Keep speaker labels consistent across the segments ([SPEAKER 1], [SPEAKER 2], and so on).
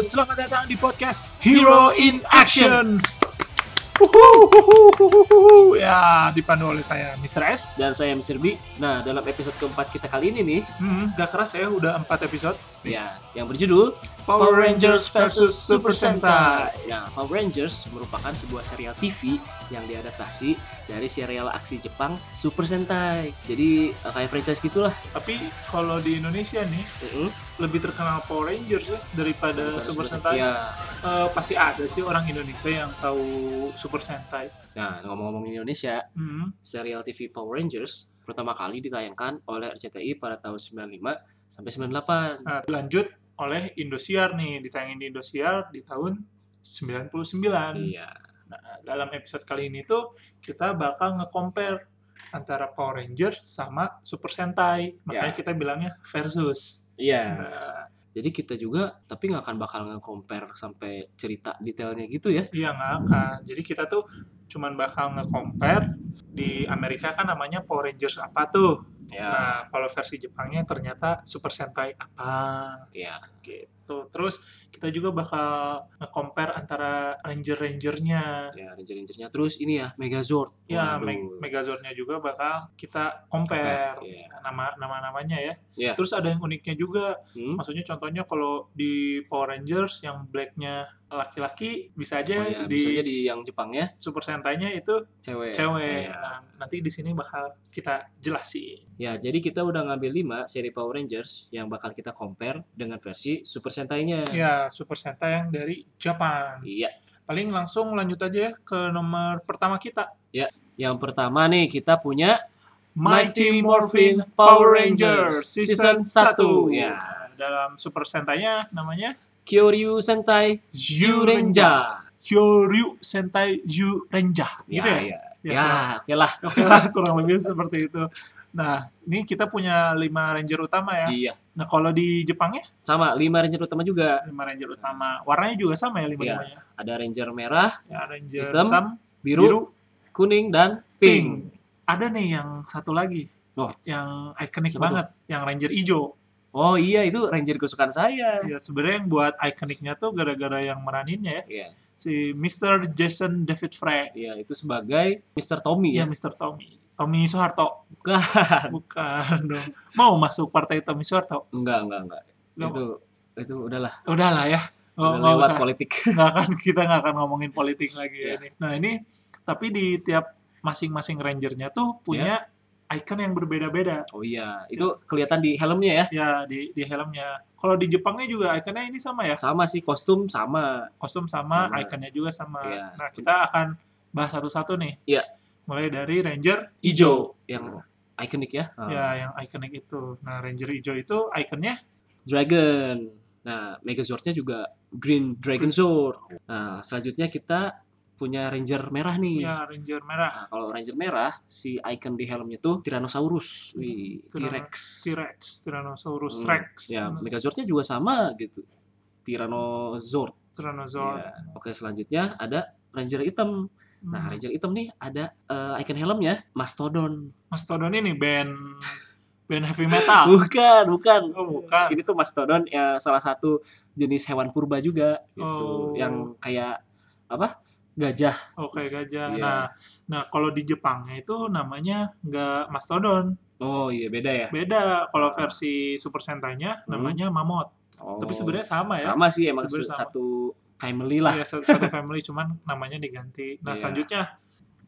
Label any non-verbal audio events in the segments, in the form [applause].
[SPEAKER 1] Selamat datang di podcast Hero in Action. Ya, dipandu oleh saya Mr. S.
[SPEAKER 2] dan saya Mr. B. Nah, dalam episode keempat kita kali ini nih,
[SPEAKER 1] Hmm, gak keras ya, udah 4 episode.
[SPEAKER 2] ya, yang berjudul
[SPEAKER 1] Power Rangers versus Super Sentai.
[SPEAKER 2] Nah, Power Rangers merupakan sebuah serial TV yang diadaptasi dari serial aksi Jepang Super Sentai. Jadi eh, kayak franchise gitulah.
[SPEAKER 1] Tapi kalau di Indonesia nih,
[SPEAKER 2] Mm-mm.
[SPEAKER 1] lebih terkenal Power Rangers ya daripada
[SPEAKER 2] Bukan
[SPEAKER 1] Super Sentai.
[SPEAKER 2] Ya.
[SPEAKER 1] Eh, pasti ada sih orang Indonesia yang tahu Super Sentai.
[SPEAKER 2] Nah, ngomong-ngomong Indonesia,
[SPEAKER 1] Hmm.
[SPEAKER 2] serial TV Power Rangers pertama kali ditayangkan oleh RCTI pada tahun 95 sampai 98.
[SPEAKER 1] Nah, lanjut oleh Indosiar nih, ditayangin di Indosiar di tahun 99.
[SPEAKER 2] Iya.
[SPEAKER 1] Nah, dalam episode kali ini tuh kita bakal nge-compare antara Power Ranger sama Super Sentai. Makanya
[SPEAKER 2] Ya.
[SPEAKER 1] kita bilangnya versus.
[SPEAKER 2] Iya.
[SPEAKER 1] Nah,
[SPEAKER 2] Jadi kita juga tapi nggak akan bakal nge-compare sampai cerita detailnya gitu ya.
[SPEAKER 1] iya nggak akan. Jadi kita tuh cuman bakal nge-compare di Amerika kan namanya Power Rangers apa tuh.
[SPEAKER 2] Ya.
[SPEAKER 1] Nah, kalau versi Jepangnya ternyata Super Sentai apa.
[SPEAKER 2] Ya.
[SPEAKER 1] gitu. Terus kita juga bakal nge-compare antara ranger-rangernya.
[SPEAKER 2] Ya, Ranger-Rangernya terus ini ya Megazord.
[SPEAKER 1] Ya,
[SPEAKER 2] Waduh. Nah,
[SPEAKER 1] Meg- Megazordnya juga bakal kita compare
[SPEAKER 2] Iya.
[SPEAKER 1] nama nama-namanya ya.
[SPEAKER 2] Iya.
[SPEAKER 1] Terus ada yang uniknya juga.
[SPEAKER 2] Hmm?
[SPEAKER 1] Maksudnya contohnya kalau di Power Rangers yang blacknya laki-laki bisa aja
[SPEAKER 2] Oh ya,
[SPEAKER 1] di
[SPEAKER 2] bisa aja di yang Jepangnya
[SPEAKER 1] Super Sentai-nya itu
[SPEAKER 2] cewek.
[SPEAKER 1] cewek.
[SPEAKER 2] Ya.
[SPEAKER 1] Nah, nanti di sini bakal kita jelasin.
[SPEAKER 2] Ya, jadi kita udah ngambil 5 seri Power Rangers yang bakal kita compare dengan versi Super Sentai-nya.
[SPEAKER 1] Ya, Super Sentai yang dari Jepang.
[SPEAKER 2] Iya.
[SPEAKER 1] Paling langsung lanjut aja ya ke nomor pertama kita.
[SPEAKER 2] Yang pertama nih kita punya
[SPEAKER 1] Mighty Morphin Power Rangers Season 1.
[SPEAKER 2] Ya.
[SPEAKER 1] Dalam Super Sentai-nya namanya
[SPEAKER 2] Kyoryu Sentai Zyurenja.
[SPEAKER 1] Kyoryu Sentai Zyurenja. Gitu ya?
[SPEAKER 2] ya. Ya,
[SPEAKER 1] Ya,
[SPEAKER 2] ya oke lah.
[SPEAKER 1] Kurang, oke lah, [laughs] kurang lebih seperti itu. Nah, ini kita punya 5 ranger utama ya.
[SPEAKER 2] Iya.
[SPEAKER 1] Nah, kalau di Jepangnya
[SPEAKER 2] Sama, 5 Ranger utama juga.
[SPEAKER 1] 5 ranger
[SPEAKER 2] Iya.
[SPEAKER 1] utama. Warnanya juga sama ya 5 limanya.
[SPEAKER 2] ada ranger merah,
[SPEAKER 1] Ya, ranger hitam,
[SPEAKER 2] Iya. Hitam, biru,
[SPEAKER 1] biru,
[SPEAKER 2] kuning dan
[SPEAKER 1] pink.
[SPEAKER 2] pink.
[SPEAKER 1] Ada nih yang satu lagi.
[SPEAKER 2] Oh.
[SPEAKER 1] Yang ikonik
[SPEAKER 2] Siapa tuh?
[SPEAKER 1] banget, yang ranger hijau.
[SPEAKER 2] Oh iya itu ranger kesukaan saya.
[SPEAKER 1] Ya sebenarnya yang buat ikoniknya tuh gara-gara yang meraninnya ya
[SPEAKER 2] Iya,
[SPEAKER 1] si Mr. Jason David Frey.
[SPEAKER 2] iya itu sebagai Mr. Tommy
[SPEAKER 1] Iya
[SPEAKER 2] ya.
[SPEAKER 1] Mr. Tommy. Tommy Soeharto.
[SPEAKER 2] Bukan.
[SPEAKER 1] Bukan dong. Mau masuk partai Tommy Soeharto?
[SPEAKER 2] Enggak, enggak, enggak.
[SPEAKER 1] Lo-
[SPEAKER 2] Itu itu udahlah,
[SPEAKER 1] Udahlah ya. Nggak,
[SPEAKER 2] udah
[SPEAKER 1] nggak
[SPEAKER 2] lewat
[SPEAKER 1] usah.
[SPEAKER 2] politik. [laughs]
[SPEAKER 1] Nggak akan, [laughs] kita nggak akan ngomongin politik lagi ya
[SPEAKER 2] Iya.
[SPEAKER 1] ini. Nah ini, tapi di tiap masing-masing rangernya tuh punya icon yang berbeda-beda.
[SPEAKER 2] Oh iya, itu kelihatan di helmnya ya.
[SPEAKER 1] Ya di, di helmnya. Kalau di Jepangnya juga ikonnya ini sama ya.
[SPEAKER 2] Sama sih kostum sama.
[SPEAKER 1] Kostum sama,
[SPEAKER 2] Sama.
[SPEAKER 1] ikonnya juga sama.
[SPEAKER 2] Iya.
[SPEAKER 1] Nah kita akan bahas satu-satu nih.
[SPEAKER 2] Iya.
[SPEAKER 1] Mulai dari ranger
[SPEAKER 2] Ijo yang ikonik ya. Ah.
[SPEAKER 1] ya yang ikonik itu. Nah ranger hijau itu ikonnya
[SPEAKER 2] Dragon. Nah, Megazordnya juga Green Dragon Sword. Nah, selanjutnya kita punya ranger merah nih.
[SPEAKER 1] ya ranger merah.
[SPEAKER 2] Nah, kalau Ranger merah, si icon di helmnya tuh Tyrannosaurus, wih,
[SPEAKER 1] Hmm, Tyranno-
[SPEAKER 2] T-Rex.
[SPEAKER 1] T-Rex, Tyrannosaurus
[SPEAKER 2] Hmm,
[SPEAKER 1] Rex,
[SPEAKER 2] Ya, Megazordnya juga sama gitu. Tyrannosaurus.
[SPEAKER 1] Tyrannosaurus.
[SPEAKER 2] Ya. Oke, selanjutnya ada Ranger hitam.
[SPEAKER 1] Hmm.
[SPEAKER 2] Nah, Ranger hitam nih ada eh, icon helmnya Mastodon.
[SPEAKER 1] Mastodon ini band band heavy
[SPEAKER 2] [laughs]
[SPEAKER 1] metal.
[SPEAKER 2] Bukan, bukan.
[SPEAKER 1] Ah. Oh, bukan.
[SPEAKER 2] Ini tuh Mastodon ya salah satu jenis hewan purba juga
[SPEAKER 1] Oh.
[SPEAKER 2] gitu, yang kayak apa? Gajah.
[SPEAKER 1] Oke, gajah.
[SPEAKER 2] Iya.
[SPEAKER 1] Nah, nah kalau di Jepangnya itu namanya nggak Mastodon.
[SPEAKER 2] Oh iya beda ya.
[SPEAKER 1] Beda kalau versi Super Sentai-nya
[SPEAKER 2] Hmm.
[SPEAKER 1] namanya Mammoth.
[SPEAKER 2] Oh.
[SPEAKER 1] Tapi sebenarnya sama ya.
[SPEAKER 2] sama sih emang
[SPEAKER 1] Sebenarnya
[SPEAKER 2] se-
[SPEAKER 1] sama.
[SPEAKER 2] satu family lah.
[SPEAKER 1] Iya, satu satu family cuman namanya diganti. Nah,
[SPEAKER 2] Iya.
[SPEAKER 1] selanjutnya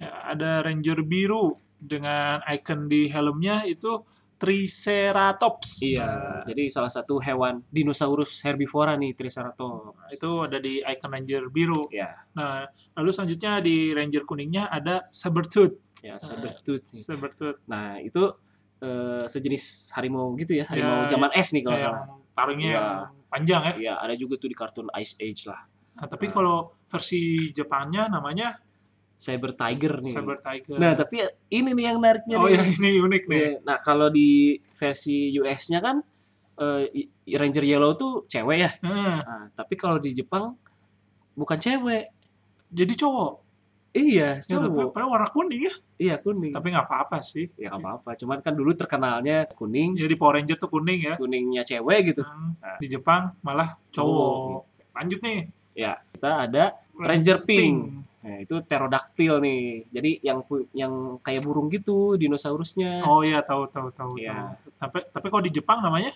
[SPEAKER 1] ya, ada Ranger biru dengan icon di helmnya itu Triceratops.
[SPEAKER 2] Iya,
[SPEAKER 1] Nah,
[SPEAKER 2] jadi salah satu hewan dinosaurus herbivora nih Triceratops.
[SPEAKER 1] Nah, itu ada di icon Ranger biru.
[SPEAKER 2] Ya.
[SPEAKER 1] Nah, lalu selanjutnya di Ranger kuningnya ada Sabertooth.
[SPEAKER 2] ya sabertooth. nih.
[SPEAKER 1] Sabertooth
[SPEAKER 2] Nah, itu eh, sejenis harimau gitu ya, harimau
[SPEAKER 1] Ya,
[SPEAKER 2] zaman es nih kalau nggak salah.
[SPEAKER 1] yang taringnya
[SPEAKER 2] Iya.
[SPEAKER 1] yang panjang ya.
[SPEAKER 2] Iya, ada juga tuh di kartun Ice Age lah.
[SPEAKER 1] Nah, tapi
[SPEAKER 2] Nah.
[SPEAKER 1] kalau versi Jepangnya namanya
[SPEAKER 2] Cyber Tiger nih.
[SPEAKER 1] Saber Tiger.
[SPEAKER 2] Nah, tapi ini nih yang menariknya
[SPEAKER 1] oh
[SPEAKER 2] nih.
[SPEAKER 1] ya ini unik nih.
[SPEAKER 2] Iya. Nah, kalau di versi US-nya kan eh, I- Ranger Yellow tuh cewek ya.
[SPEAKER 1] Nah,
[SPEAKER 2] Nah, tapi kalau di Jepang bukan cewek.
[SPEAKER 1] jadi cowok.
[SPEAKER 2] Iya,
[SPEAKER 1] Ya, tapi
[SPEAKER 2] cowok.
[SPEAKER 1] padahal warna kuning ya.
[SPEAKER 2] Iya, kuning.
[SPEAKER 1] Tapi nggak apa-apa sih.
[SPEAKER 2] Ya nggak apa-apa, cuman kan dulu terkenalnya kuning,
[SPEAKER 1] Jadi Power Ranger tuh kuning ya.
[SPEAKER 2] kuningnya cewek gitu.
[SPEAKER 1] Hmm, Di Jepang malah cowok. lanjut nih
[SPEAKER 2] Kita ada Ranger Pink. Nah, itu pterodaktil nih. Jadi yang pu- yang kayak burung gitu dinosaurusnya.
[SPEAKER 1] oh iya tahu tahu tahu
[SPEAKER 2] Iya.
[SPEAKER 1] tahu. tapi tapi kalau di Jepang namanya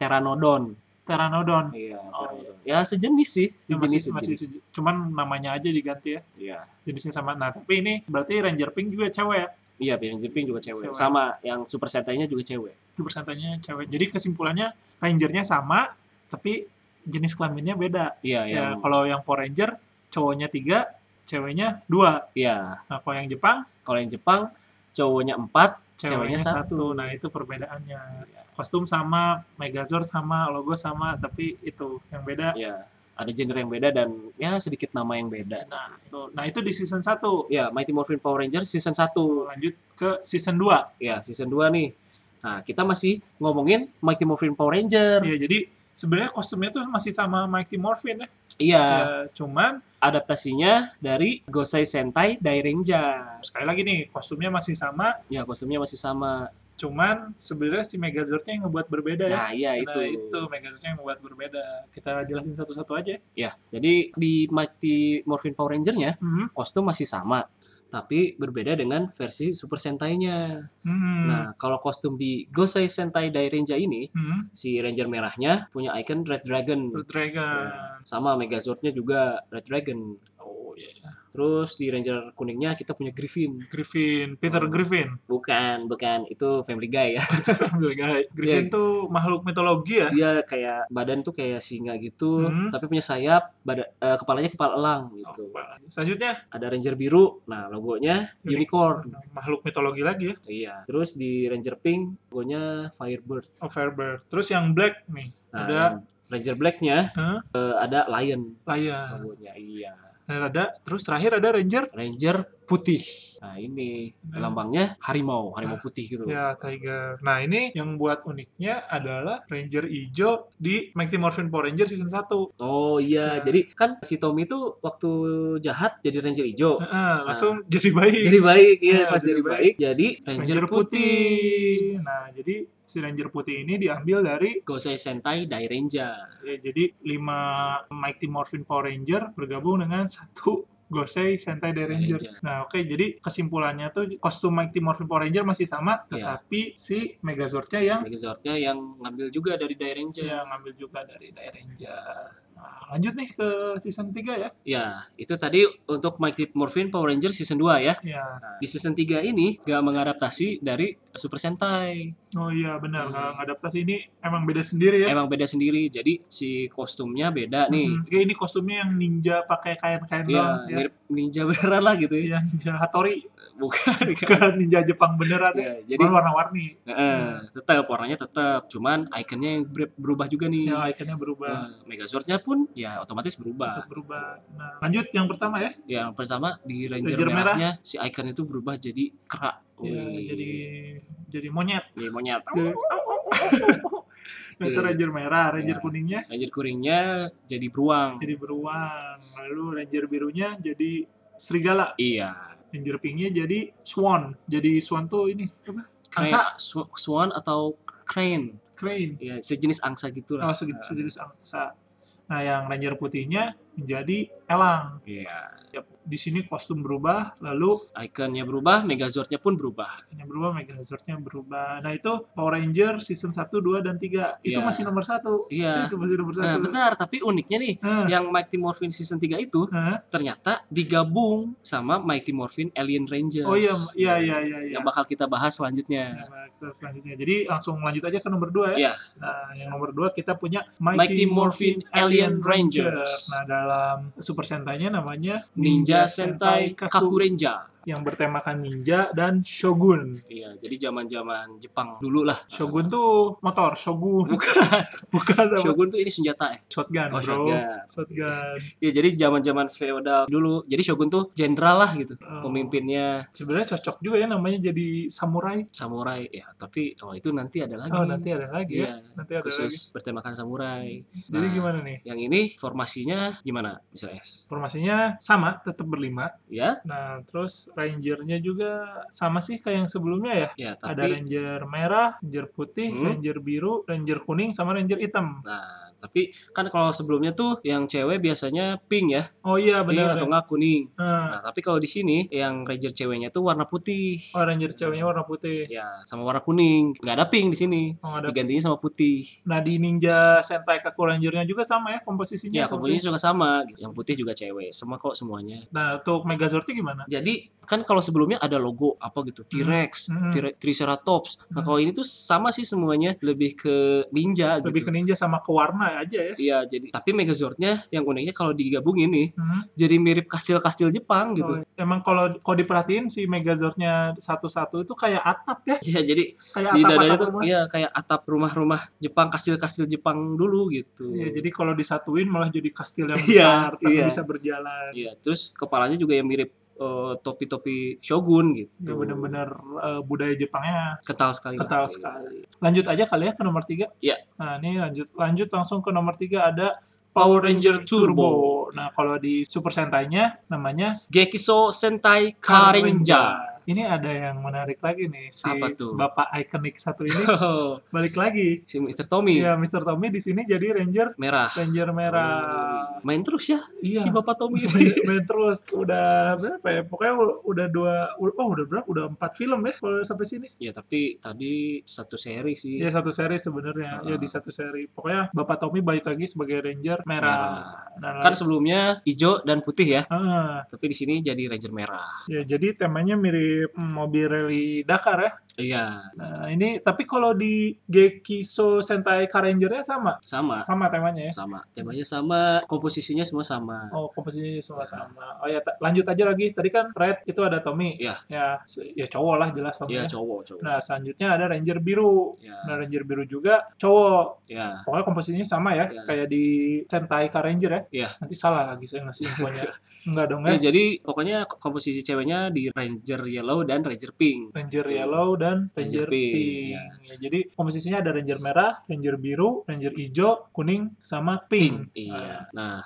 [SPEAKER 2] Pteranodon.
[SPEAKER 1] pteranodon
[SPEAKER 2] Iya,
[SPEAKER 1] Oh,
[SPEAKER 2] Pteranodon. Ya sejenis sih,
[SPEAKER 1] Ya,
[SPEAKER 2] sejenis
[SPEAKER 1] masih masih
[SPEAKER 2] sejenis.
[SPEAKER 1] seje- cuman namanya aja diganti ya
[SPEAKER 2] Iya.
[SPEAKER 1] jenisnya sama nah tapi ini berarti Ranger Pink juga cewek ya
[SPEAKER 2] Iya, yang Jepang juga cewek.
[SPEAKER 1] Cewek.
[SPEAKER 2] Sama yang Super Sentai-nya juga cewek.
[SPEAKER 1] persentanya cewek jadi kesimpulannya Rangernya sama tapi jenis kelaminnya beda ya
[SPEAKER 2] Iya, yang
[SPEAKER 1] kalau yang Power Ranger cowoknya tiga ceweknya dua
[SPEAKER 2] iya.
[SPEAKER 1] nah kalau yang Jepang
[SPEAKER 2] Kalau yang Jepang cowoknya empat
[SPEAKER 1] ceweknya,
[SPEAKER 2] Ceweknya Iya.
[SPEAKER 1] satu. nah itu perbedaannya kostum sama Megazord sama logo sama tapi itu yang beda
[SPEAKER 2] ya ada genre yang beda dan ya sedikit nama yang beda.
[SPEAKER 1] nah itu nah itu di season 1
[SPEAKER 2] Ya, Mighty Morphin Power Ranger season 1.
[SPEAKER 1] lanjut ke season 2
[SPEAKER 2] Ya, season 2 nih. Nah, kita masih ngomongin Mighty Morphin Power Ranger.
[SPEAKER 1] ya jadi sebenarnya kostumnya tuh masih sama Mighty Morphin ya,
[SPEAKER 2] Iya,
[SPEAKER 1] Ya, cuman
[SPEAKER 2] adaptasinya dari Gosei Sentai Dairenja.
[SPEAKER 1] sekali lagi nih kostumnya masih sama
[SPEAKER 2] Ya, kostumnya masih sama.
[SPEAKER 1] cuman sebenarnya si Megazordnya yang ngebuat berbeda ya
[SPEAKER 2] Nah, iya itu.
[SPEAKER 1] Nah, itu Megazordnya yang ngebuat berbeda kita jelasin satu-satu aja ya
[SPEAKER 2] Ya, jadi di Mighty Morphin Power Ranger-nya
[SPEAKER 1] Mhm.
[SPEAKER 2] kostum masih sama, tapi berbeda dengan versi Super Sentai-nya.
[SPEAKER 1] Mhm.
[SPEAKER 2] Nah, kalau kostum di Gosei Sentai Dairenja ini,
[SPEAKER 1] Mhm.
[SPEAKER 2] si Ranger merahnya punya icon Red Dragon.
[SPEAKER 1] Blue Dragon.
[SPEAKER 2] Ya, Sama Megazord-nya juga Red Dragon.
[SPEAKER 1] Oh iya.
[SPEAKER 2] Terus di Ranger kuningnya kita punya Griffin.
[SPEAKER 1] Griffin, Peter
[SPEAKER 2] Oh.
[SPEAKER 1] Griffin. [laughs]
[SPEAKER 2] Bukan, bukan. Itu Family Guy ya.
[SPEAKER 1] Family Guy. Griffin
[SPEAKER 2] Iya.
[SPEAKER 1] tuh makhluk mitologi ya.
[SPEAKER 2] Dia kayak badan tuh kayak singa gitu,
[SPEAKER 1] Hmm.
[SPEAKER 2] tapi punya sayap, bada- eh, kepalanya kepala elang
[SPEAKER 1] Oh,
[SPEAKER 2] gitu.
[SPEAKER 1] apa. Selanjutnya
[SPEAKER 2] Ada Ranger biru. Nah, logonya unicorn.
[SPEAKER 1] makhluk mitologi lagi ya,
[SPEAKER 2] Iya. Terus di Ranger pink logonya Firebird.
[SPEAKER 1] Overbird. Terus yang black nih,
[SPEAKER 2] Nah,
[SPEAKER 1] ada
[SPEAKER 2] yang Ranger blacknya
[SPEAKER 1] Hah?
[SPEAKER 2] eh, ada lion
[SPEAKER 1] Lion.
[SPEAKER 2] logonya. Iya.
[SPEAKER 1] Dan ada terus terakhir ada Ranger.
[SPEAKER 2] Ranger putih. Nah, ini
[SPEAKER 1] Hmm.
[SPEAKER 2] lambangnya harimau, harimau
[SPEAKER 1] Ah,
[SPEAKER 2] putih gitu.
[SPEAKER 1] Ya, Tiger. Nah, ini yang buat uniknya adalah Ranger Ijo di Mighty Morphin Power Ranger Season 1.
[SPEAKER 2] Oh iya,
[SPEAKER 1] Ya.
[SPEAKER 2] jadi kan si Tommy itu waktu jahat jadi Ranger hijau.
[SPEAKER 1] Heeh, langsung [laughs] jadi baik.
[SPEAKER 2] Jadi baik, iya
[SPEAKER 1] Ya,
[SPEAKER 2] pas
[SPEAKER 1] jadi
[SPEAKER 2] jadi baik, jadi Ranger, putih.
[SPEAKER 1] Nah, jadi si Ranger putih ini diambil dari
[SPEAKER 2] Gosei Sentai Dairenja.
[SPEAKER 1] Ya, jadi 5 Mighty Morphin Power Ranger bergabung dengan satu Gosei Sentai Ranger.
[SPEAKER 2] Ranger.
[SPEAKER 1] Nah, oke, jadi kesimpulannya tuh kostum Mighty Morphin Power Ranger masih sama,
[SPEAKER 2] Iya.
[SPEAKER 1] tetapi si Megazordnya yang
[SPEAKER 2] Megazordnya yang ngambil juga dari Dairenja.
[SPEAKER 1] yang ngambil juga dari Ranger. Nah, lanjut nih ke season 3 ya.
[SPEAKER 2] Ya, itu tadi untuk Mighty Morphin Power Ranger season 2 ya.
[SPEAKER 1] Ya.
[SPEAKER 2] Di season 3 ini gak mengadaptasi dari Super Sentai.
[SPEAKER 1] Oh iya benar,
[SPEAKER 2] Hmm.
[SPEAKER 1] kalau ngadaptasi ini emang beda sendiri ya.
[SPEAKER 2] Emang beda sendiri. Jadi si kostumnya beda nih.
[SPEAKER 1] Hmm, kayak ini kostumnya yang ninja pakai kain-kain
[SPEAKER 2] Iya,
[SPEAKER 1] doang ya.
[SPEAKER 2] mirip ninja beneran lah gitu ya.
[SPEAKER 1] Iya, ninja Hattori,
[SPEAKER 2] Bukan. kan?
[SPEAKER 1] bukan [laughs] ninja Jepang beneran. ya.
[SPEAKER 2] [laughs] Iya, jadi
[SPEAKER 1] Cuman warna-warni.
[SPEAKER 2] Heeh, tetap warnanya tetap, cuman ikonnya yang ber- berubah juga nih.
[SPEAKER 1] Ya, ikonnya berubah.
[SPEAKER 2] Nah, Megazordnya pun ya otomatis berubah.
[SPEAKER 1] berubah. Nah, lanjut yang pertama ya.
[SPEAKER 2] Yang pertama di Ranger,
[SPEAKER 1] Ranger merah.
[SPEAKER 2] merahnya si icon itu berubah jadi kera.
[SPEAKER 1] Ya,
[SPEAKER 2] Wih,
[SPEAKER 1] jadi jadi monyet.
[SPEAKER 2] jadi monyet. [laughs]
[SPEAKER 1] Jadi- Nah, [laughs] itu
[SPEAKER 2] Iya.
[SPEAKER 1] ranger merah, ranger
[SPEAKER 2] Iya.
[SPEAKER 1] kuningnya
[SPEAKER 2] Ranger kuringnya jadi beruang.
[SPEAKER 1] jadi beruang, lalu ranger birunya jadi serigala,
[SPEAKER 2] Iya.
[SPEAKER 1] ranger pinknya jadi swan. Jadi swan tuh ini apa? Angsa.
[SPEAKER 2] Crane, sw- swan atau crane.
[SPEAKER 1] Crane.
[SPEAKER 2] Ya, sejenis angsa gitu
[SPEAKER 1] Oh,
[SPEAKER 2] lah.
[SPEAKER 1] segi- sejenis angsa. Nah, yang ranger putihnya menjadi elang.
[SPEAKER 2] Iya.
[SPEAKER 1] Di sini kostum berubah, lalu
[SPEAKER 2] Ikonnya berubah, Megazordnya pun berubah.
[SPEAKER 1] yang berubah, Megazordnya berubah. Nah, itu Power Ranger season 1, 2, dan 3. Itu
[SPEAKER 2] Iya.
[SPEAKER 1] masih nomor satu.
[SPEAKER 2] Iya.
[SPEAKER 1] Itu masih nomor
[SPEAKER 2] Nah, Iya.
[SPEAKER 1] satu.
[SPEAKER 2] benar, tapi uniknya nih
[SPEAKER 1] Hah,
[SPEAKER 2] yang Mighty Morphin season 3 itu
[SPEAKER 1] hah.
[SPEAKER 2] ternyata digabung sama Mighty Morphin Alien Rangers.
[SPEAKER 1] Oh iya, iya, iya, iya. iya.
[SPEAKER 2] Yang bakal kita bahas selanjutnya.
[SPEAKER 1] Nah, ke selanjutnya. Jadi langsung lanjut aja ke nomor 2 ya.
[SPEAKER 2] Iya.
[SPEAKER 1] Nah, yang nomor 2 kita punya
[SPEAKER 2] Mighty Morphin Alien Rangers.
[SPEAKER 1] Nah, dalam Super Sentai-nya namanya
[SPEAKER 2] Ninja Sentai Kaku Renja.
[SPEAKER 1] yang bertemakan ninja dan shogun.
[SPEAKER 2] Iya, jadi zaman-zaman Jepang dulu lah.
[SPEAKER 1] Shogun tuh motor, shogun.
[SPEAKER 2] Bukan.
[SPEAKER 1] [laughs] Bukan apa?
[SPEAKER 2] Shogun tuh ini senjata eh.
[SPEAKER 1] shotgun,
[SPEAKER 2] Oh,
[SPEAKER 1] Iya, bro.
[SPEAKER 2] shotgun.
[SPEAKER 1] Shotgun.
[SPEAKER 2] Ya, jadi zaman-zaman feodal dulu. Jadi Shogun tuh jenderal lah gitu.
[SPEAKER 1] Oh.
[SPEAKER 2] Pemimpinnya
[SPEAKER 1] Sebenarnya cocok juga ya namanya jadi samurai.
[SPEAKER 2] samurai ya, tapi oh itu nanti ada lagi.
[SPEAKER 1] Oh, nanti ada lagi ya.
[SPEAKER 2] Iya,
[SPEAKER 1] Nanti ada lagi.
[SPEAKER 2] khusus bertemakan samurai.
[SPEAKER 1] Jadi
[SPEAKER 2] Nah,
[SPEAKER 1] gimana nih?
[SPEAKER 2] Yang ini formasinya gimana, misalnya?
[SPEAKER 1] Formasinya sama, tetap berlima.
[SPEAKER 2] Ya,
[SPEAKER 1] Nah, terus rangernya juga sama sih kayak yang sebelumnya ya.
[SPEAKER 2] ya
[SPEAKER 1] Ada
[SPEAKER 2] tapi
[SPEAKER 1] ranger merah, ranger putih,
[SPEAKER 2] Hmm.
[SPEAKER 1] ranger biru, ranger kuning, sama ranger hitam.
[SPEAKER 2] Nah, Tapi kan kalau sebelumnya tuh yang cewek biasanya pink ya,
[SPEAKER 1] Oh iya
[SPEAKER 2] pink
[SPEAKER 1] benar.
[SPEAKER 2] atau enggak kuning.
[SPEAKER 1] Nah,
[SPEAKER 2] Nah, tapi kalau di sini yang ranger ceweknya tuh warna putih.
[SPEAKER 1] oh, ranger ceweknya warna putih.
[SPEAKER 2] Ya, sama warna kuning. Nggak ada pink di sini.
[SPEAKER 1] Oh, ada.
[SPEAKER 2] Digantinya sama putih.
[SPEAKER 1] Nah di Ninja Sentai Kaku Rangernya juga sama ya komposisinya.
[SPEAKER 2] Ya,
[SPEAKER 1] seperti-
[SPEAKER 2] komposisinya juga sama. gitu. Yang putih juga cewek. Sama kok semuanya.
[SPEAKER 1] Nah untuk Megazordnya gimana?
[SPEAKER 2] Jadi kan kalau sebelumnya ada logo apa gitu, T-Rex,
[SPEAKER 1] Hmm.
[SPEAKER 2] T-Rex- Triceratops.
[SPEAKER 1] Hmm.
[SPEAKER 2] Nah, kalau ini tuh sama sih semuanya, lebih ke ninja gitu.
[SPEAKER 1] Lebih ke ninja sama ke warna aja ya.
[SPEAKER 2] Iya, jadi tapi Megazordnya yang uniknya kalau digabungin nih,
[SPEAKER 1] Hmm.
[SPEAKER 2] jadi mirip kastil-kastil Jepang
[SPEAKER 1] Oh,
[SPEAKER 2] gitu.
[SPEAKER 1] emang kalau kalau diperhatiin si Megazordnya satu-satu itu kayak atap ya,
[SPEAKER 2] Iya, jadi
[SPEAKER 1] kayak
[SPEAKER 2] di dadanya
[SPEAKER 1] atap-atap
[SPEAKER 2] tuh
[SPEAKER 1] rumah.
[SPEAKER 2] iya kayak atap rumah-rumah Jepang, kastil-kastil Jepang dulu gitu.
[SPEAKER 1] Iya, jadi kalau disatuin malah jadi kastil yang
[SPEAKER 2] [laughs] Iya,
[SPEAKER 1] besar, tapi
[SPEAKER 2] iya.
[SPEAKER 1] bisa berjalan.
[SPEAKER 2] Iya, terus kepalanya juga yang mirip eh, topi-topi shogun gitu.
[SPEAKER 1] Itu Iya, bener-bener eh, budaya Jepangnya
[SPEAKER 2] Kental sekali. lah.
[SPEAKER 1] Kental sekali. lanjut aja kali ya ke nomor tiga.
[SPEAKER 2] Iya.
[SPEAKER 1] Nah ini lanjut lanjut langsung ke nomor tiga ada
[SPEAKER 2] Power Ranger
[SPEAKER 1] Nah kalau di Super Sentai-nya namanya
[SPEAKER 2] Gekiso Sentai Karenja.
[SPEAKER 1] Ini ada yang menarik lagi nih si
[SPEAKER 2] Apa tuh?
[SPEAKER 1] bapak ikonik satu
[SPEAKER 2] [laughs]
[SPEAKER 1] ini balik lagi.
[SPEAKER 2] si Mr. Tommy
[SPEAKER 1] Iya Mr. Tommy di sini jadi Ranger
[SPEAKER 2] merah.
[SPEAKER 1] Ranger merah.
[SPEAKER 2] Oh. Main terus ya
[SPEAKER 1] Iya.
[SPEAKER 2] si Bapak
[SPEAKER 1] [laughs]
[SPEAKER 2] Tommy
[SPEAKER 1] Main-
[SPEAKER 2] ini.
[SPEAKER 1] main terus udah berapa ya pokoknya u- udah dua u- oh udah berapa udah empat film ya kalau sampai sini
[SPEAKER 2] ya, tapi tadi satu seri sih.
[SPEAKER 1] ya satu seri sebenarnya ya di satu seri pokoknya bapak Tommy balik lagi sebagai ranger merah,
[SPEAKER 2] Merah.
[SPEAKER 1] Nah,
[SPEAKER 2] Kan sebelumnya hijau dan putih ya,
[SPEAKER 1] Ah,
[SPEAKER 2] tapi di sini jadi Ranger merah.
[SPEAKER 1] ya jadi temanya mirip mm, mobil rally Dakar ya
[SPEAKER 2] Iya,
[SPEAKER 1] nah ini tapi kalau di Gekiso Sentai Karengernya sama
[SPEAKER 2] sama.
[SPEAKER 1] sama temanya ya
[SPEAKER 2] Sama. Temanya sama, komposisinya semua sama.
[SPEAKER 1] Oh, komposisinya semua sama. Oh ya, ta- lanjut aja lagi. Tadi kan Red itu ada Tommy.
[SPEAKER 2] Iya.
[SPEAKER 1] Ya, se- ya cowok lah jelas Tommy.
[SPEAKER 2] Iya,
[SPEAKER 1] ya.
[SPEAKER 2] cowok, cowok.
[SPEAKER 1] Nah, selanjutnya ada Ranger biru.
[SPEAKER 2] Ya,
[SPEAKER 1] Nah, Ranger biru juga cowok.
[SPEAKER 2] ya.
[SPEAKER 1] Pokoknya komposisinya sama ya,
[SPEAKER 2] Iya.
[SPEAKER 1] kayak di Sentai Car Ranger ya.
[SPEAKER 2] Iya.
[SPEAKER 1] Nanti salah lagi saya ngasih infonya.
[SPEAKER 2] [laughs]
[SPEAKER 1] Enggak dong ya.
[SPEAKER 2] Ya, jadi pokoknya komposisi ceweknya di Ranger Yellow dan Ranger Pink.
[SPEAKER 1] Ranger Yellow dan Ranger,
[SPEAKER 2] Ranger Pink,
[SPEAKER 1] Pink.
[SPEAKER 2] ya.
[SPEAKER 1] Ya, jadi komposisinya ada Ranger merah, Ranger biru, Ranger hijau, kuning, sama pink. Ah.
[SPEAKER 2] Iya. Nah,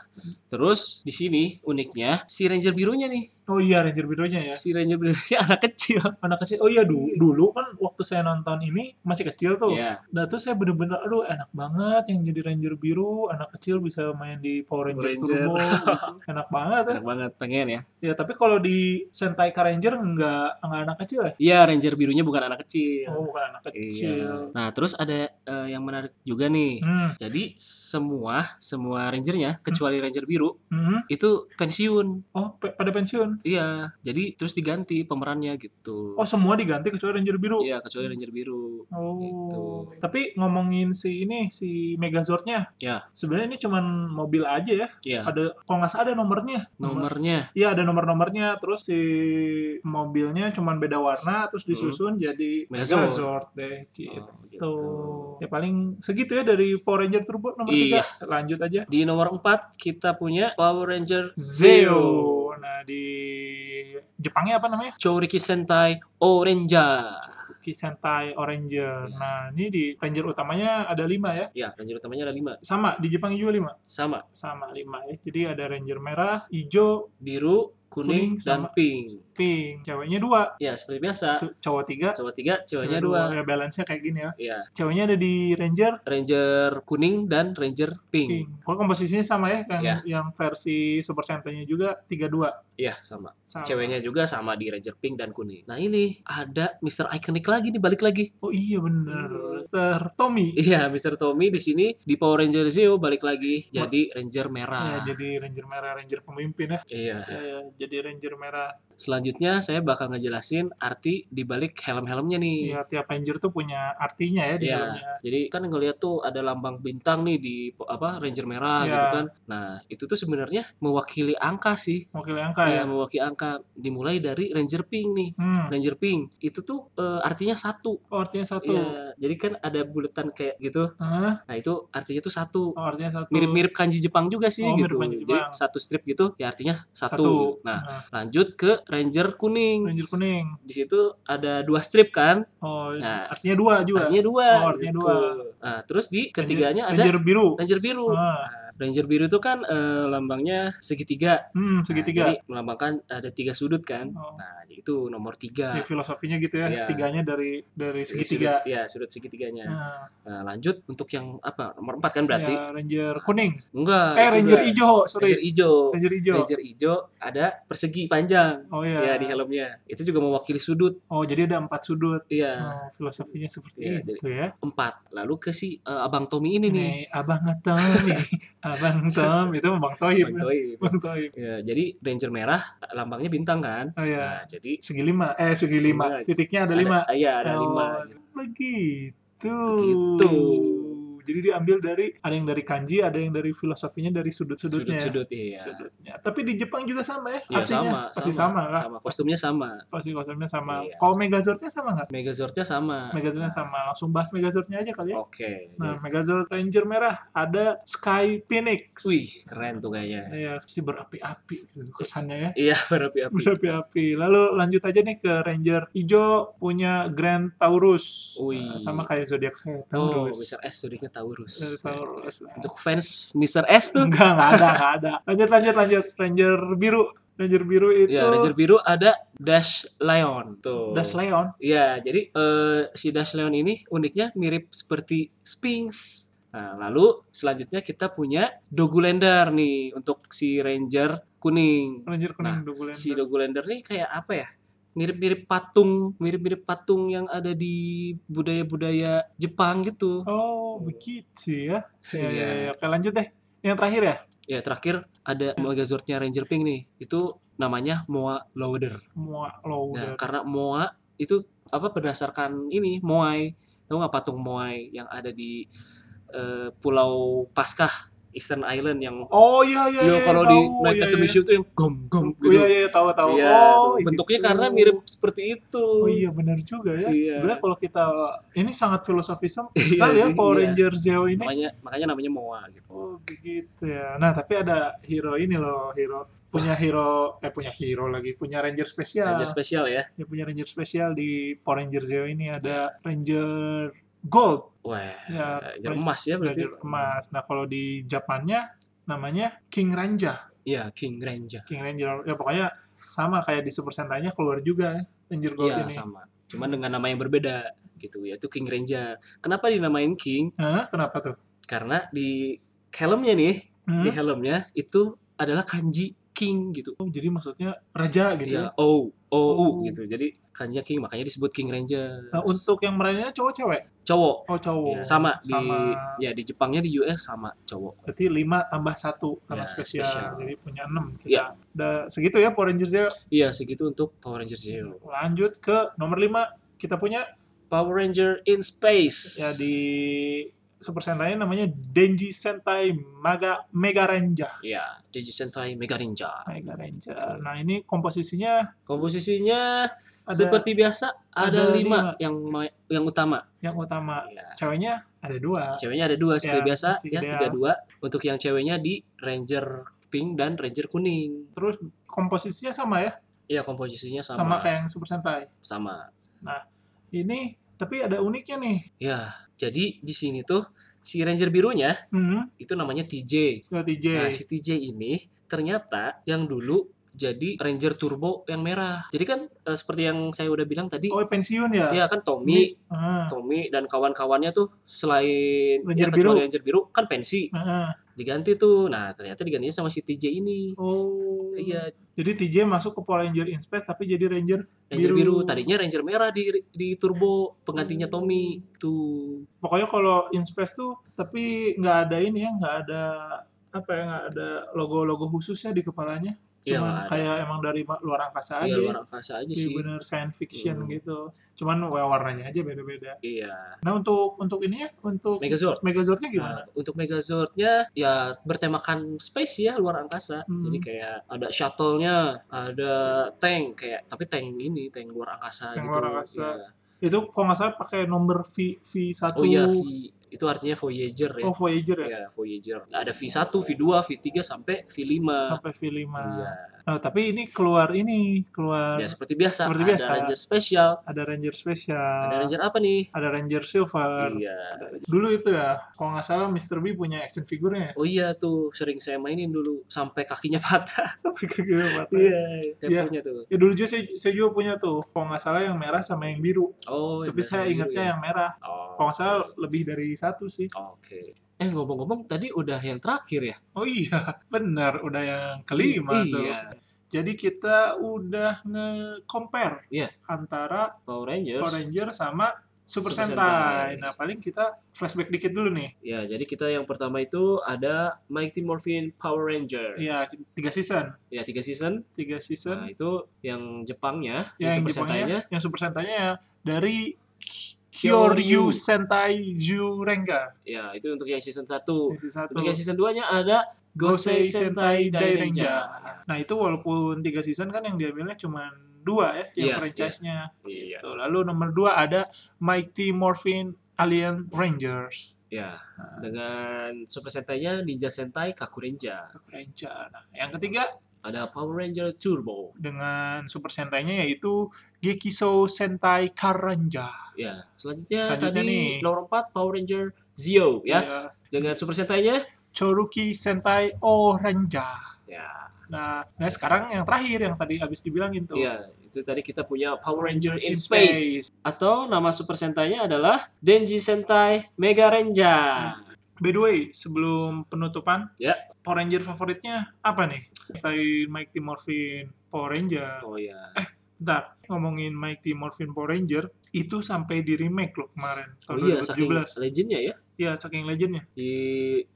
[SPEAKER 2] terus di sini uniknya si Ranger birunya nih,
[SPEAKER 1] Ah, oh iya Ranger birunya ya. [laughs]
[SPEAKER 2] si Ranger birunya [laughs] anak kecil.
[SPEAKER 1] Anak kecil. Oh iya du- dulu kan waktu saya nonton ini masih kecil tuh.
[SPEAKER 2] Iya.
[SPEAKER 1] Nah tuh saya bener-bener aduh enak banget yang jadi Ranger biru, anak kecil bisa main di Power Ranger,
[SPEAKER 2] Ranger.
[SPEAKER 1] Turbo. gitu. [laughs] enak banget ya.
[SPEAKER 2] Enak banget pengen ya.
[SPEAKER 1] Ya tapi kalau di Sentai Car Ranger nggak nggak anak kecil ya?
[SPEAKER 2] Iya, Ranger birunya bukan anak kecil.
[SPEAKER 1] Oh bukan anak kecil.
[SPEAKER 2] Iya. Nah, terus ada eh, yang menarik juga nih.
[SPEAKER 1] Hmm.
[SPEAKER 2] Jadi semua semua rangernya kecuali ranger biru
[SPEAKER 1] hmm.
[SPEAKER 2] itu pensiun.
[SPEAKER 1] Oh pe- pada pensiun.
[SPEAKER 2] Iya, jadi terus diganti pemerannya gitu.
[SPEAKER 1] Oh semua diganti kecuali Ranger biru.
[SPEAKER 2] Iya, kecuali ranger biru.
[SPEAKER 1] Oh.
[SPEAKER 2] Gitu.
[SPEAKER 1] Tapi ngomongin si ini si Megazordnya.
[SPEAKER 2] Ya.
[SPEAKER 1] Sebenarnya ini cuman mobil aja ya.
[SPEAKER 2] Iya,
[SPEAKER 1] Ada kalau nggak salah ada nomornya.
[SPEAKER 2] nomornya.
[SPEAKER 1] Iya ada nomor-nomornya. Terus si mobilnya cuman beda warna. Terus disusun jadi
[SPEAKER 2] Megazord.
[SPEAKER 1] Megazord deh. Gitu.
[SPEAKER 2] Hmm. Oh, gitu.
[SPEAKER 1] Ya paling segitu ya dari Power Ranger Turbo nomor
[SPEAKER 2] Iya.
[SPEAKER 1] 3. Lanjut aja.
[SPEAKER 2] Di nomor 4 kita punya Power Ranger Zeo
[SPEAKER 1] Zeo. Nah di Jepangnya apa namanya?
[SPEAKER 2] Chouriki Sentai Orenja.
[SPEAKER 1] Kisentai Oranger.
[SPEAKER 2] Ya.
[SPEAKER 1] Nah ini di Ranger utamanya ada lima ya.
[SPEAKER 2] Ya, ranger utamanya ada 5.
[SPEAKER 1] Sama di Jepang juga lima.
[SPEAKER 2] Sama,
[SPEAKER 1] Sama lima ya. Jadi ada Ranger merah, hijau,
[SPEAKER 2] biru, kuning,
[SPEAKER 1] Kuning,
[SPEAKER 2] dan
[SPEAKER 1] sama.
[SPEAKER 2] pink.
[SPEAKER 1] pink. Ceweknya dua,
[SPEAKER 2] Ya, seperti biasa.
[SPEAKER 1] Su- cowok tiga,
[SPEAKER 2] Cowok 3, ceweknya
[SPEAKER 1] cewek
[SPEAKER 2] 2.
[SPEAKER 1] Ya balance-nya kayak gini ya.
[SPEAKER 2] Iya,
[SPEAKER 1] Ceweknya ada di Ranger
[SPEAKER 2] Ranger kuning dan Ranger pink.
[SPEAKER 1] pink. Pokoknya komposisinya sama ya kan
[SPEAKER 2] Ya.
[SPEAKER 1] yang versi Super Sentai-nya juga tiga dua.
[SPEAKER 2] Iya, sama.
[SPEAKER 1] Sama.
[SPEAKER 2] Ceweknya juga sama di Ranger pink dan kuning. Nah, ini ada Mr. Iconic lagi nih balik lagi. [laughs]
[SPEAKER 1] Oh iya bener. Sir Tommy.
[SPEAKER 2] Iya, Mr. Tommy di sini di Power Ranger Zeo balik lagi jadi Ranger
[SPEAKER 1] Ya,
[SPEAKER 2] merah.
[SPEAKER 1] jadi Ranger merah, Ranger pemimpin ya.
[SPEAKER 2] nah. Iya.
[SPEAKER 1] Ya, ya, jadi Ranger merah.
[SPEAKER 2] Selanjutnya saya bakal ngejelasin arti di balik helm-helmnya nih.
[SPEAKER 1] Ya tiap Ranger tuh punya artinya ya di
[SPEAKER 2] Iya.
[SPEAKER 1] dalamnya.
[SPEAKER 2] Jadi kan ngeliat tuh ada lambang bintang nih di po- apa Ranger merah
[SPEAKER 1] Iya.
[SPEAKER 2] gitu kan. Nah, itu tuh sebenarnya mewakili angka sih.
[SPEAKER 1] Wakil angka ya.
[SPEAKER 2] Iya, mewakili angka dimulai dari Ranger pink nih.
[SPEAKER 1] Hmm.
[SPEAKER 2] Ranger pink itu tuh eh, artinya satu.
[SPEAKER 1] Oh, artinya satu.
[SPEAKER 2] Iya, jadi kan ada buletan kayak gitu.
[SPEAKER 1] Hah?
[SPEAKER 2] Nah, itu artinya tuh satu.
[SPEAKER 1] Oh, artinya satu.
[SPEAKER 2] Mirip-mirip kanji Jepang juga sih
[SPEAKER 1] Oh,
[SPEAKER 2] gitu.
[SPEAKER 1] mirip kanji
[SPEAKER 2] Jadi
[SPEAKER 1] Jepang.
[SPEAKER 2] satu strip gitu ya artinya satu.
[SPEAKER 1] satu.
[SPEAKER 2] gitu. Nah, lanjut ke Ranger kuning.
[SPEAKER 1] Ranger kuning.
[SPEAKER 2] Di situ ada dua strip kan?
[SPEAKER 1] Oh,
[SPEAKER 2] Nah.
[SPEAKER 1] artinya dua juga.
[SPEAKER 2] Artinya dua.
[SPEAKER 1] Oh, artinya dua.
[SPEAKER 2] Nah, terus di ketiganya
[SPEAKER 1] Ranger
[SPEAKER 2] ada
[SPEAKER 1] biru.
[SPEAKER 2] Ranger biru.
[SPEAKER 1] Ah,
[SPEAKER 2] Nah, Ranger biru itu kan eh, lambangnya segitiga.
[SPEAKER 1] Hmm,
[SPEAKER 2] Nah,
[SPEAKER 1] segitiga.
[SPEAKER 2] jadi melambangkan ada tiga sudut kan.
[SPEAKER 1] Oh.
[SPEAKER 2] Nah, itu nomor tiga.
[SPEAKER 1] Ya, filosofinya gitu ya,
[SPEAKER 2] Nah. Iya.
[SPEAKER 1] tiganya dari dari
[SPEAKER 2] Jadi
[SPEAKER 1] segitiga.
[SPEAKER 2] sudut- Iya, sudut segitiganya.
[SPEAKER 1] Nah,
[SPEAKER 2] Nah, lanjut untuk yang apa? Nomor empat kan berarti?
[SPEAKER 1] ya, ranger kuning.
[SPEAKER 2] Enggak.
[SPEAKER 1] eh,
[SPEAKER 2] itu
[SPEAKER 1] ranger
[SPEAKER 2] udah.
[SPEAKER 1] hijau,
[SPEAKER 2] Ranger
[SPEAKER 1] sorry.
[SPEAKER 2] hijau.
[SPEAKER 1] Ranger hijau.
[SPEAKER 2] Ranger hijau ada persegi panjang.
[SPEAKER 1] Oh iya.
[SPEAKER 2] Ya, di helmnya. Itu juga mewakili sudut.
[SPEAKER 1] Oh, jadi ada empat sudut.
[SPEAKER 2] Iya,
[SPEAKER 1] Oh, filosofinya seperti
[SPEAKER 2] Iya,
[SPEAKER 1] itu ya.
[SPEAKER 2] empat. Lalu ke si eh, Abang Tommy ini nih.
[SPEAKER 1] Ini Abang
[SPEAKER 2] [laughs]
[SPEAKER 1] Tom, Abang Tom itu Bang Toib.
[SPEAKER 2] Bang Toib.
[SPEAKER 1] Bang Toib.
[SPEAKER 2] Ya, jadi Ranger merah lambangnya bintang kan.
[SPEAKER 1] Oh
[SPEAKER 2] Nah,
[SPEAKER 1] iya.
[SPEAKER 2] jadi
[SPEAKER 1] Segi lima, eh segi lima.
[SPEAKER 2] Lima.
[SPEAKER 1] Titiknya ada lima.
[SPEAKER 2] Iya, ada lima.
[SPEAKER 1] Oh, Begitu.
[SPEAKER 2] Begitu.
[SPEAKER 1] Jadi diambil dari ada yang dari kanji, ada yang dari filosofinya dari sudut-sudutnya.
[SPEAKER 2] Sudut-sudut iya.
[SPEAKER 1] Sudutnya. Tapi di Jepang juga sama ya?
[SPEAKER 2] Iya,
[SPEAKER 1] Artinya
[SPEAKER 2] sama,
[SPEAKER 1] pasti sama, kan?
[SPEAKER 2] sama. Kostumnya sama.
[SPEAKER 1] Pasti konsepnya sama.
[SPEAKER 2] Iya.
[SPEAKER 1] Kalau Megazordnya sama nggak?
[SPEAKER 2] Megazordnya sama.
[SPEAKER 1] [laughs] Megazordnya sama. Langsung bahas Megazordnya aja
[SPEAKER 2] Oh, iya.
[SPEAKER 1] kali ya.
[SPEAKER 2] Oke.
[SPEAKER 1] Nah, Megazord Ranger merah ada Sky Phoenix.
[SPEAKER 2] Wih, keren tuh kayaknya.
[SPEAKER 1] Ya, si berapi-api gitu kesannya ya. [laughs]
[SPEAKER 2] Iya, berapi-api.
[SPEAKER 1] Berapi-api. Lalu lanjut aja nih ke Ranger hijau punya Grand Taurus. Nah,
[SPEAKER 2] Wih.
[SPEAKER 1] sama kayak zodiak saya
[SPEAKER 2] Oh,
[SPEAKER 1] Taurus.
[SPEAKER 2] Mr. S jadinya
[SPEAKER 1] Dari
[SPEAKER 2] Taurus. Ya.
[SPEAKER 1] Taurus.
[SPEAKER 2] Untuk fans Mr. S tuh.
[SPEAKER 1] Enggak, enggak ada, enggak ada. Lanjut, lanjut, lanjut. Ranger biru. Ranger biru itu
[SPEAKER 2] Ya, Ranger biru ada Dash Lion tuh.
[SPEAKER 1] Das Leon.
[SPEAKER 2] Iya, jadi eh, si Dash Leon ini uniknya mirip seperti Sphinx. Nah, lalu selanjutnya kita punya Dogulander nih untuk si Ranger kuning.
[SPEAKER 1] Ranger kuning
[SPEAKER 2] Nah,
[SPEAKER 1] Dogulander.
[SPEAKER 2] Si Dogulander nih kayak apa ya? Mirip-mirip patung, mirip-mirip patung yang ada di budaya-budaya Jepang gitu.
[SPEAKER 1] Oh, begitu ya. Ya,
[SPEAKER 2] Iya.
[SPEAKER 1] ya, ya. Oke, lanjut deh. Yang terakhir ya?
[SPEAKER 2] Ya, terakhir ada Megazordnya Ranger Pink nih. Itu namanya Moa Lauder.
[SPEAKER 1] Moa Lauder.
[SPEAKER 2] Nah, karena Moa itu apa berdasarkan ini Moai, tahu nggak patung Moai yang ada di eh, Pulau Paskah, Eastern Island yang
[SPEAKER 1] Oh, iya, iya,
[SPEAKER 2] Yo,
[SPEAKER 1] iya.
[SPEAKER 2] kalau
[SPEAKER 1] tahu,
[SPEAKER 2] di naik
[SPEAKER 1] iya,
[SPEAKER 2] ke the
[SPEAKER 1] iya.
[SPEAKER 2] museum tuh yang gom gom
[SPEAKER 1] Oh,
[SPEAKER 2] gitu.
[SPEAKER 1] Iya, iya, tahu, tahu.
[SPEAKER 2] Iya,
[SPEAKER 1] oh,
[SPEAKER 2] tuh. bentuknya
[SPEAKER 1] gitu.
[SPEAKER 2] karena mirip seperti itu.
[SPEAKER 1] Oh iya benar juga ya.
[SPEAKER 2] Iya.
[SPEAKER 1] Sebenarnya kalau kita ini sangat filosofis sekali
[SPEAKER 2] [laughs] Iya
[SPEAKER 1] ya
[SPEAKER 2] sih,
[SPEAKER 1] Power
[SPEAKER 2] iya.
[SPEAKER 1] Ranger Zeo ini.
[SPEAKER 2] Makanya makanya namanya Moa gitu.
[SPEAKER 1] Oh begitu ya. Nah tapi ada hero ini loh hero punya hero eh punya hero lagi punya ranger spesial.
[SPEAKER 2] Ranger spesial ya.
[SPEAKER 1] Dia punya ranger spesial di Power Ranger Zeo ini ada ranger gold,
[SPEAKER 2] Wah,
[SPEAKER 1] Ya,
[SPEAKER 2] Ranger emas ya berarti.
[SPEAKER 1] ranger emas. Nah kalau di Japannya namanya King Ranger.
[SPEAKER 2] Iya, King Ranger.
[SPEAKER 1] King Ranger ya pokoknya sama kayak di Super Sentai-nya keluar juga ya. Ranger gold
[SPEAKER 2] Iya,
[SPEAKER 1] ini.
[SPEAKER 2] sama. Cuman dengan nama yang berbeda gitu, yaitu King Ranger. Kenapa dinamain King?
[SPEAKER 1] Hah, kenapa tuh?
[SPEAKER 2] Karena di helmnya nih
[SPEAKER 1] Hmm?
[SPEAKER 2] di helmnya itu adalah kanji king gitu.
[SPEAKER 1] Oh, Jadi maksudnya raja gitu ya.
[SPEAKER 2] Ya, O, O, U
[SPEAKER 1] Oh.
[SPEAKER 2] gitu. Jadi kanji king makanya disebut King Ranger.
[SPEAKER 1] Nah, untuk yang meraninnya cowok cewek?
[SPEAKER 2] cowok
[SPEAKER 1] Oh, cowok.
[SPEAKER 2] Ya, sama,
[SPEAKER 1] Sama.
[SPEAKER 2] di ya di Jepangnya di US sama cowok.
[SPEAKER 1] Berarti 5 tambah 1 karena
[SPEAKER 2] Ya,
[SPEAKER 1] spesial.
[SPEAKER 2] spesial.
[SPEAKER 1] Jadi punya 6 kita.
[SPEAKER 2] Ya.
[SPEAKER 1] Udah segitu ya Power Rangers ya.
[SPEAKER 2] Iya, segitu untuk Power Ranger Zero.
[SPEAKER 1] Lanjut ke nomor 5 kita punya
[SPEAKER 2] Power Ranger in Space.
[SPEAKER 1] ya di Super Sentai namanya Denji Sentai Maga Mega Ranger.
[SPEAKER 2] Iya, Digi Sentai Mega Ninja.
[SPEAKER 1] Mega Ranger. Nah, ini komposisinya
[SPEAKER 2] Komposisinya
[SPEAKER 1] Ada-
[SPEAKER 2] seperti biasa ada,
[SPEAKER 1] ada Ah.
[SPEAKER 2] lima, yang ma- yang utama.
[SPEAKER 1] yang utama
[SPEAKER 2] Iya.
[SPEAKER 1] ceweknya ada dua.
[SPEAKER 2] Nah, Ceweknya ada dua seperti
[SPEAKER 1] Ya,
[SPEAKER 2] biasa
[SPEAKER 1] si
[SPEAKER 2] ya
[SPEAKER 1] ideal.
[SPEAKER 2] tiga dua untuk yang ceweknya di Ranger Pink dan Ranger Kuning.
[SPEAKER 1] Terus komposisinya sama ya,
[SPEAKER 2] Iya komposisinya
[SPEAKER 1] sama,
[SPEAKER 2] sama
[SPEAKER 1] kayak yang Super Sentai.
[SPEAKER 2] sama.
[SPEAKER 1] Ini tapi ada uniknya nih.
[SPEAKER 2] Ya, jadi di sini tuh si Ranger birunya
[SPEAKER 1] Hmm,
[SPEAKER 2] itu namanya TJ.
[SPEAKER 1] dua
[SPEAKER 2] Nah,
[SPEAKER 1] TJ.
[SPEAKER 2] si TJ ini ternyata yang dulu jadi Ranger Turbo yang merah. Jadi kan eh, seperti yang saya udah bilang tadi,
[SPEAKER 1] Oh, pensiun ya?
[SPEAKER 2] ya kan Tommy,
[SPEAKER 1] Ah,
[SPEAKER 2] Tommy dan kawan-kawannya tuh selain
[SPEAKER 1] Ranger
[SPEAKER 2] ya,
[SPEAKER 1] biru.
[SPEAKER 2] kecuali Ranger biru kan pensi
[SPEAKER 1] ah.
[SPEAKER 2] diganti tuh. Nah, ternyata digantinya sama si TJ ini.
[SPEAKER 1] Oh.
[SPEAKER 2] Iya,
[SPEAKER 1] Jadi TJ masuk ke Power Ranger in Space tapi jadi Ranger.
[SPEAKER 2] Ranger
[SPEAKER 1] Biru. Hmm.
[SPEAKER 2] biru. Tadinya Ranger merah di di Turbo penggantinya Tommy tuh.
[SPEAKER 1] Pokoknya kalau in Space tuh tapi nggak ada ini ya, nggak ada apa ya, nggak ada logo-logo khusus ya di kepalanya.
[SPEAKER 2] Iya,
[SPEAKER 1] Cuman
[SPEAKER 2] nggak ada.
[SPEAKER 1] kayak emang dari ma- luar angkasa
[SPEAKER 2] Iya,
[SPEAKER 1] aja.
[SPEAKER 2] luar angkasa aja
[SPEAKER 1] Iya,
[SPEAKER 2] sih.
[SPEAKER 1] bener science fiction
[SPEAKER 2] Hmm.
[SPEAKER 1] gitu. Cuman wa- warnanya aja beda-beda.
[SPEAKER 2] Iya.
[SPEAKER 1] Nah untuk untuk ininya, untuk
[SPEAKER 2] Megazord.
[SPEAKER 1] Megazordnya gimana?
[SPEAKER 2] Nah, untuk Megazordnya ya bertemakan space ya luar angkasa.
[SPEAKER 1] Hmm.
[SPEAKER 2] Jadi kayak ada shuttle-nya, ada tank kayak tapi tank ini tank luar angkasa
[SPEAKER 1] Tank
[SPEAKER 2] gitu.
[SPEAKER 1] luar angkasa.
[SPEAKER 2] Iya.
[SPEAKER 1] Itu kalau nggak salah pakai nomor V V1.
[SPEAKER 2] Oh iya, V itu artinya Voyager ya.
[SPEAKER 1] Oh, Voyager ya.
[SPEAKER 2] Iya, Voyager. Ada V1, V2, V3 sampai V5.
[SPEAKER 1] Sampai V5.
[SPEAKER 2] Iya.
[SPEAKER 1] Nah, tapi ini keluar ini, keluar
[SPEAKER 2] Ya seperti biasa,
[SPEAKER 1] Seperti
[SPEAKER 2] ada
[SPEAKER 1] biasa. Ah.
[SPEAKER 2] Ranger spesial,
[SPEAKER 1] ada Ranger spesial,
[SPEAKER 2] ada Ranger apa nih?
[SPEAKER 1] ada Ranger Silver.
[SPEAKER 2] Iya.
[SPEAKER 1] Dulu itu ya, kalau nggak salah Mr. B punya action ya. figurnya.
[SPEAKER 2] [laughs] Oh iya tuh sering saya mainin dulu sampai kakinya [laughs] patah.
[SPEAKER 1] Sampai ke gila mata.
[SPEAKER 2] Iya,
[SPEAKER 1] Iya.
[SPEAKER 2] saya punya tuh.
[SPEAKER 1] Ya dulu juga saya, saya juga punya tuh, kalau nggak salah yang merah sama yang biru.
[SPEAKER 2] Oh,
[SPEAKER 1] Tapi saya ingatnya yang merah. Kalau nggak salah lebih dari satu sih.
[SPEAKER 2] Oke. Eh ngomong-ngomong tadi udah yang terakhir ya?
[SPEAKER 1] Oh iya, [laughs] benar. Udah yang kelima
[SPEAKER 2] iya.
[SPEAKER 1] tuh. Jadi kita udah nge-compare
[SPEAKER 2] Iya.
[SPEAKER 1] antara
[SPEAKER 2] Power Rangers.
[SPEAKER 1] Power Ranger sama Super,
[SPEAKER 2] Super
[SPEAKER 1] Sentai.
[SPEAKER 2] Sentai.
[SPEAKER 1] Nah, paling kita flashback dikit dulu nih.
[SPEAKER 2] Ya, jadi kita yang pertama itu ada Mighty Morphin Power Ranger. Ya,
[SPEAKER 1] Iya, tiga season.
[SPEAKER 2] tiga season.
[SPEAKER 1] Tiga
[SPEAKER 2] Nah,
[SPEAKER 1] season.
[SPEAKER 2] itu yang Jepangnya,
[SPEAKER 1] Ya, yang
[SPEAKER 2] Super
[SPEAKER 1] Jepangnya,
[SPEAKER 2] Sentai-nya.
[SPEAKER 1] yang Super Sentai-nya ya dari
[SPEAKER 2] Kyoryu.
[SPEAKER 1] Kyoryu Sentai Jurenga.
[SPEAKER 2] Ya, itu untuk yang season 1.
[SPEAKER 1] Yang satu.
[SPEAKER 2] Untuk yang season 2-nya ada Gosei Sentai Dairenja.
[SPEAKER 1] Nah, itu walaupun tiga season kan yang diambilnya cuma dua ya, yang
[SPEAKER 2] Iya,
[SPEAKER 1] franchise-nya.
[SPEAKER 2] Iya.
[SPEAKER 1] Tuh, Lalu nomor dua ada Mighty Morphin Alien Rangers.
[SPEAKER 2] Ya,
[SPEAKER 1] Nah.
[SPEAKER 2] dengan Super Sentai-nya Ninja Sentai Kakurenja.
[SPEAKER 1] Ranger. Nah, yang ketiga
[SPEAKER 2] Ada Power Ranger Turbo.
[SPEAKER 1] dengan Super Sentai-nya yaitu Gekiso Sentai Karanja.
[SPEAKER 2] Ya, selanjutnya,
[SPEAKER 1] Selanjutnya
[SPEAKER 2] tadi
[SPEAKER 1] nih. Iya.
[SPEAKER 2] nomor 4 Power Ranger Zio ya.
[SPEAKER 1] Ada
[SPEAKER 2] Dengan Super Sentai-nya
[SPEAKER 1] Choruki Sentai Oranja.
[SPEAKER 2] ya.
[SPEAKER 1] Nah, nah sekarang yang terakhir yang tadi habis dibilangin tuh.
[SPEAKER 2] Ya, itu tadi kita punya Power Ranger in,
[SPEAKER 1] In
[SPEAKER 2] Space. atau nama Super Sentai-nya adalah Denji Sentai Mega Renja.
[SPEAKER 1] By the way, sebelum penutupan,
[SPEAKER 2] Ya.
[SPEAKER 1] Power Ranger favoritnya apa nih? Selain Mighty Morphin Power Ranger.
[SPEAKER 2] Oh ya.
[SPEAKER 1] Bentar, ngomongin Mighty Morphin Power Ranger, itu sampai di remake loh kemarin,
[SPEAKER 2] Oh
[SPEAKER 1] tahun
[SPEAKER 2] iya, saking
[SPEAKER 1] 2017.
[SPEAKER 2] legendnya ya
[SPEAKER 1] Iya, saking legendnya.
[SPEAKER 2] di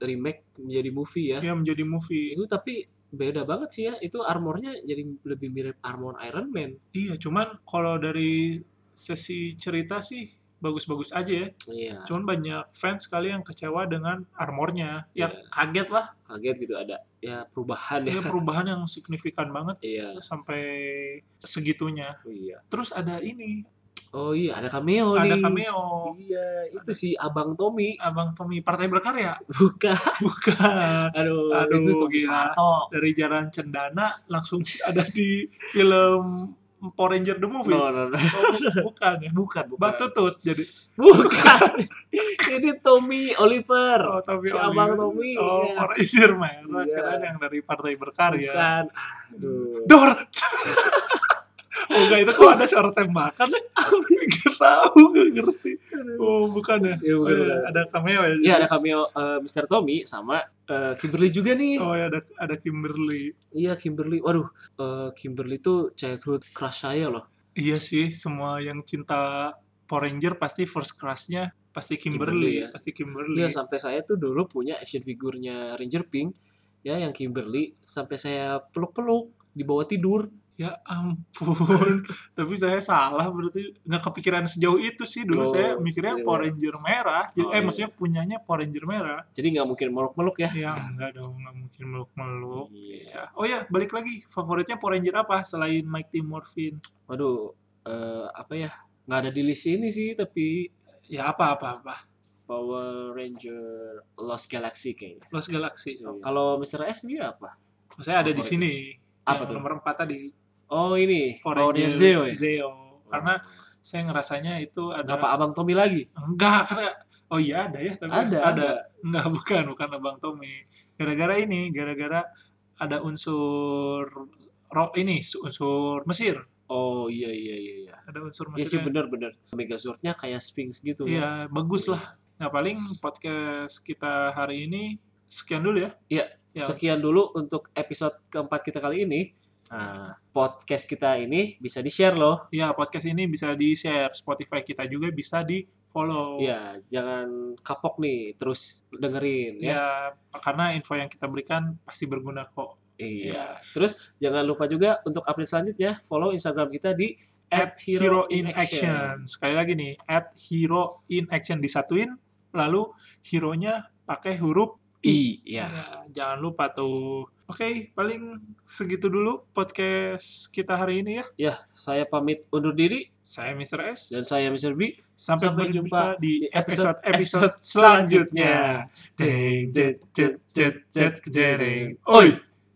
[SPEAKER 2] remake menjadi movie ya.
[SPEAKER 1] Dia menjadi movie.
[SPEAKER 2] Itu tapi beda banget sih ya. Itu armornya jadi lebih mirip armor Iron Man.
[SPEAKER 1] Iya, cuman kalau dari sesi cerita sih bagus-bagus aja ya.
[SPEAKER 2] Iya.
[SPEAKER 1] Cuman banyak fans kali yang kecewa dengan armornya. Ya
[SPEAKER 2] Iya.
[SPEAKER 1] kaget
[SPEAKER 2] [laughs]
[SPEAKER 1] lah.
[SPEAKER 2] Kaget gitu ada ya perubahan ya.
[SPEAKER 1] Ini perubahan yang signifikan banget
[SPEAKER 2] Iya.
[SPEAKER 1] sampai segitunya.
[SPEAKER 2] Oh iya.
[SPEAKER 1] Terus ada ini,
[SPEAKER 2] Oh iya, ada cameo
[SPEAKER 1] ada
[SPEAKER 2] nih.
[SPEAKER 1] cameo
[SPEAKER 2] Iya, itu si Abang Tommy.
[SPEAKER 1] Abang Tommy Partai Berkarya. [laughs]
[SPEAKER 2] Buka.
[SPEAKER 1] Bukan.
[SPEAKER 2] Aduh,
[SPEAKER 1] Aduh,
[SPEAKER 2] Oh, itu Tommy
[SPEAKER 1] gila.
[SPEAKER 2] Soeharto.
[SPEAKER 1] Dari Jalan Cendana langsung [laughs] ada di film Power Ranger The Movie.
[SPEAKER 2] No, no, no.
[SPEAKER 1] Oh, bu- bukan ya.
[SPEAKER 2] Bukan, bukan.
[SPEAKER 1] Batutut jadi
[SPEAKER 2] Bukan. [laughs] Ini Tommy Oliver. [laughs]
[SPEAKER 1] Oh, Tommy
[SPEAKER 2] Si Abang
[SPEAKER 1] Oliver.
[SPEAKER 2] Tommy,
[SPEAKER 1] Oh,
[SPEAKER 2] iya.
[SPEAKER 1] Power Ranger merah.
[SPEAKER 2] Iya.
[SPEAKER 1] Keren yang dari Partai Berkarya.
[SPEAKER 2] Bukan. Aduh.
[SPEAKER 1] Dor. [laughs] oh enggak itu kok ada suara
[SPEAKER 2] [laughs]
[SPEAKER 1] tembakan Gak tahu gak ngerti. Oh bukan ya.
[SPEAKER 2] Iya,
[SPEAKER 1] Oh,
[SPEAKER 2] bukan,
[SPEAKER 1] iya,
[SPEAKER 2] bukan.
[SPEAKER 1] ada cameo ya.
[SPEAKER 2] Iya, ada cameo eh, Mr. Tommy sama eh, Kimberly juga nih.
[SPEAKER 1] Oh ya ada ada Kimberly.
[SPEAKER 2] Iya, Kimberly. Waduh, eh, Kimberly tuh childhood crush saya loh.
[SPEAKER 1] Iya sih semua yang cinta Power Ranger pasti first crush-nya pasti
[SPEAKER 2] Kimberly,
[SPEAKER 1] Kimberly,
[SPEAKER 2] ya.
[SPEAKER 1] pasti Kimberly.
[SPEAKER 2] Iya, sampai saya tuh dulu punya action figurnya Ranger Pink ya yang Kimberly sampai saya peluk-peluk di bawah tidur.
[SPEAKER 1] Ya ampun. [laughs] Tapi saya salah berarti nggak kepikiran sejauh itu sih. Dulu
[SPEAKER 2] Oh,
[SPEAKER 1] saya mikirnya
[SPEAKER 2] iya.
[SPEAKER 1] Power Ranger merah. Jadi,
[SPEAKER 2] Oh,
[SPEAKER 1] eh
[SPEAKER 2] iya.
[SPEAKER 1] maksudnya punyanya Power Ranger merah.
[SPEAKER 2] Jadi nggak mungkin meluk-meluk ya.
[SPEAKER 1] Ya enggak dong, nggak mungkin meluk-meluk.
[SPEAKER 2] Iya.
[SPEAKER 1] Ya. Oh ya, balik lagi. Favoritnya Power Ranger apa selain Mighty Morphin?
[SPEAKER 2] Waduh, eh, apa ya? Nggak ada di list ini sih, tapi
[SPEAKER 1] Ya apa apa apa.
[SPEAKER 2] Power Ranger Lost Galaxy kayaknya.
[SPEAKER 1] Lost Galaxy.
[SPEAKER 2] Kalau Mr. S sendiri apa?
[SPEAKER 1] Saya ada di
[SPEAKER 2] Iya, Favorit.
[SPEAKER 1] sini.
[SPEAKER 2] Apa
[SPEAKER 1] Yang
[SPEAKER 2] tuh?
[SPEAKER 1] Nomor 4 tadi.
[SPEAKER 2] Oh ini, Power Ranger Zeo ya? Oh.
[SPEAKER 1] Zeo. Karena saya ngerasanya itu ada
[SPEAKER 2] Kenapa Abang Tommy lagi?
[SPEAKER 1] enggak karena oh iya ada ya tapi
[SPEAKER 2] Ada, ada.
[SPEAKER 1] enggak [laughs] bukan bukan Abang Tommy. Gara-gara ini, gara-gara ada unsur ro ini unsur Mesir.
[SPEAKER 2] Oh iya iya iya iya.
[SPEAKER 1] Ada unsur
[SPEAKER 2] Iya sih
[SPEAKER 1] Mesir.
[SPEAKER 2] benar benar. Megazordnya kayak Sphinx gitu.
[SPEAKER 1] Iya, bagus lah. Nah, paling podcast kita hari ini sekian dulu ya.
[SPEAKER 2] Iya.
[SPEAKER 1] Ya,
[SPEAKER 2] Sekian dulu untuk episode keempat kita kali ini. Nah, podcast kita ini bisa di-share loh.
[SPEAKER 1] ya, podcast ini bisa di-share Spotify kita juga bisa di-follow.
[SPEAKER 2] Iya, jangan kapok nih, terus dengerin ya.
[SPEAKER 1] Ya, karena info yang kita berikan pasti berguna kok.
[SPEAKER 2] Iya. Terus jangan lupa juga untuk update selanjutnya follow Instagram kita di
[SPEAKER 1] At Hero in Action. Sekali lagi nih, at Hero in Action disatuin, lalu hero-nya pakai huruf
[SPEAKER 2] I ya.
[SPEAKER 1] Ya, jangan lupa tuh. Oke, paling segitu dulu podcast kita hari ini ya.
[SPEAKER 2] Ya, saya pamit undur diri
[SPEAKER 1] Saya Mr. S.
[SPEAKER 2] dan saya Mr. B.
[SPEAKER 1] Sampai,
[SPEAKER 2] Sampai
[SPEAKER 1] berjumpa
[SPEAKER 2] jumpa
[SPEAKER 1] di
[SPEAKER 2] di episode-
[SPEAKER 1] episode-episode selanjutnya. Ding, jet, jet, jet, jet, jering. Oi!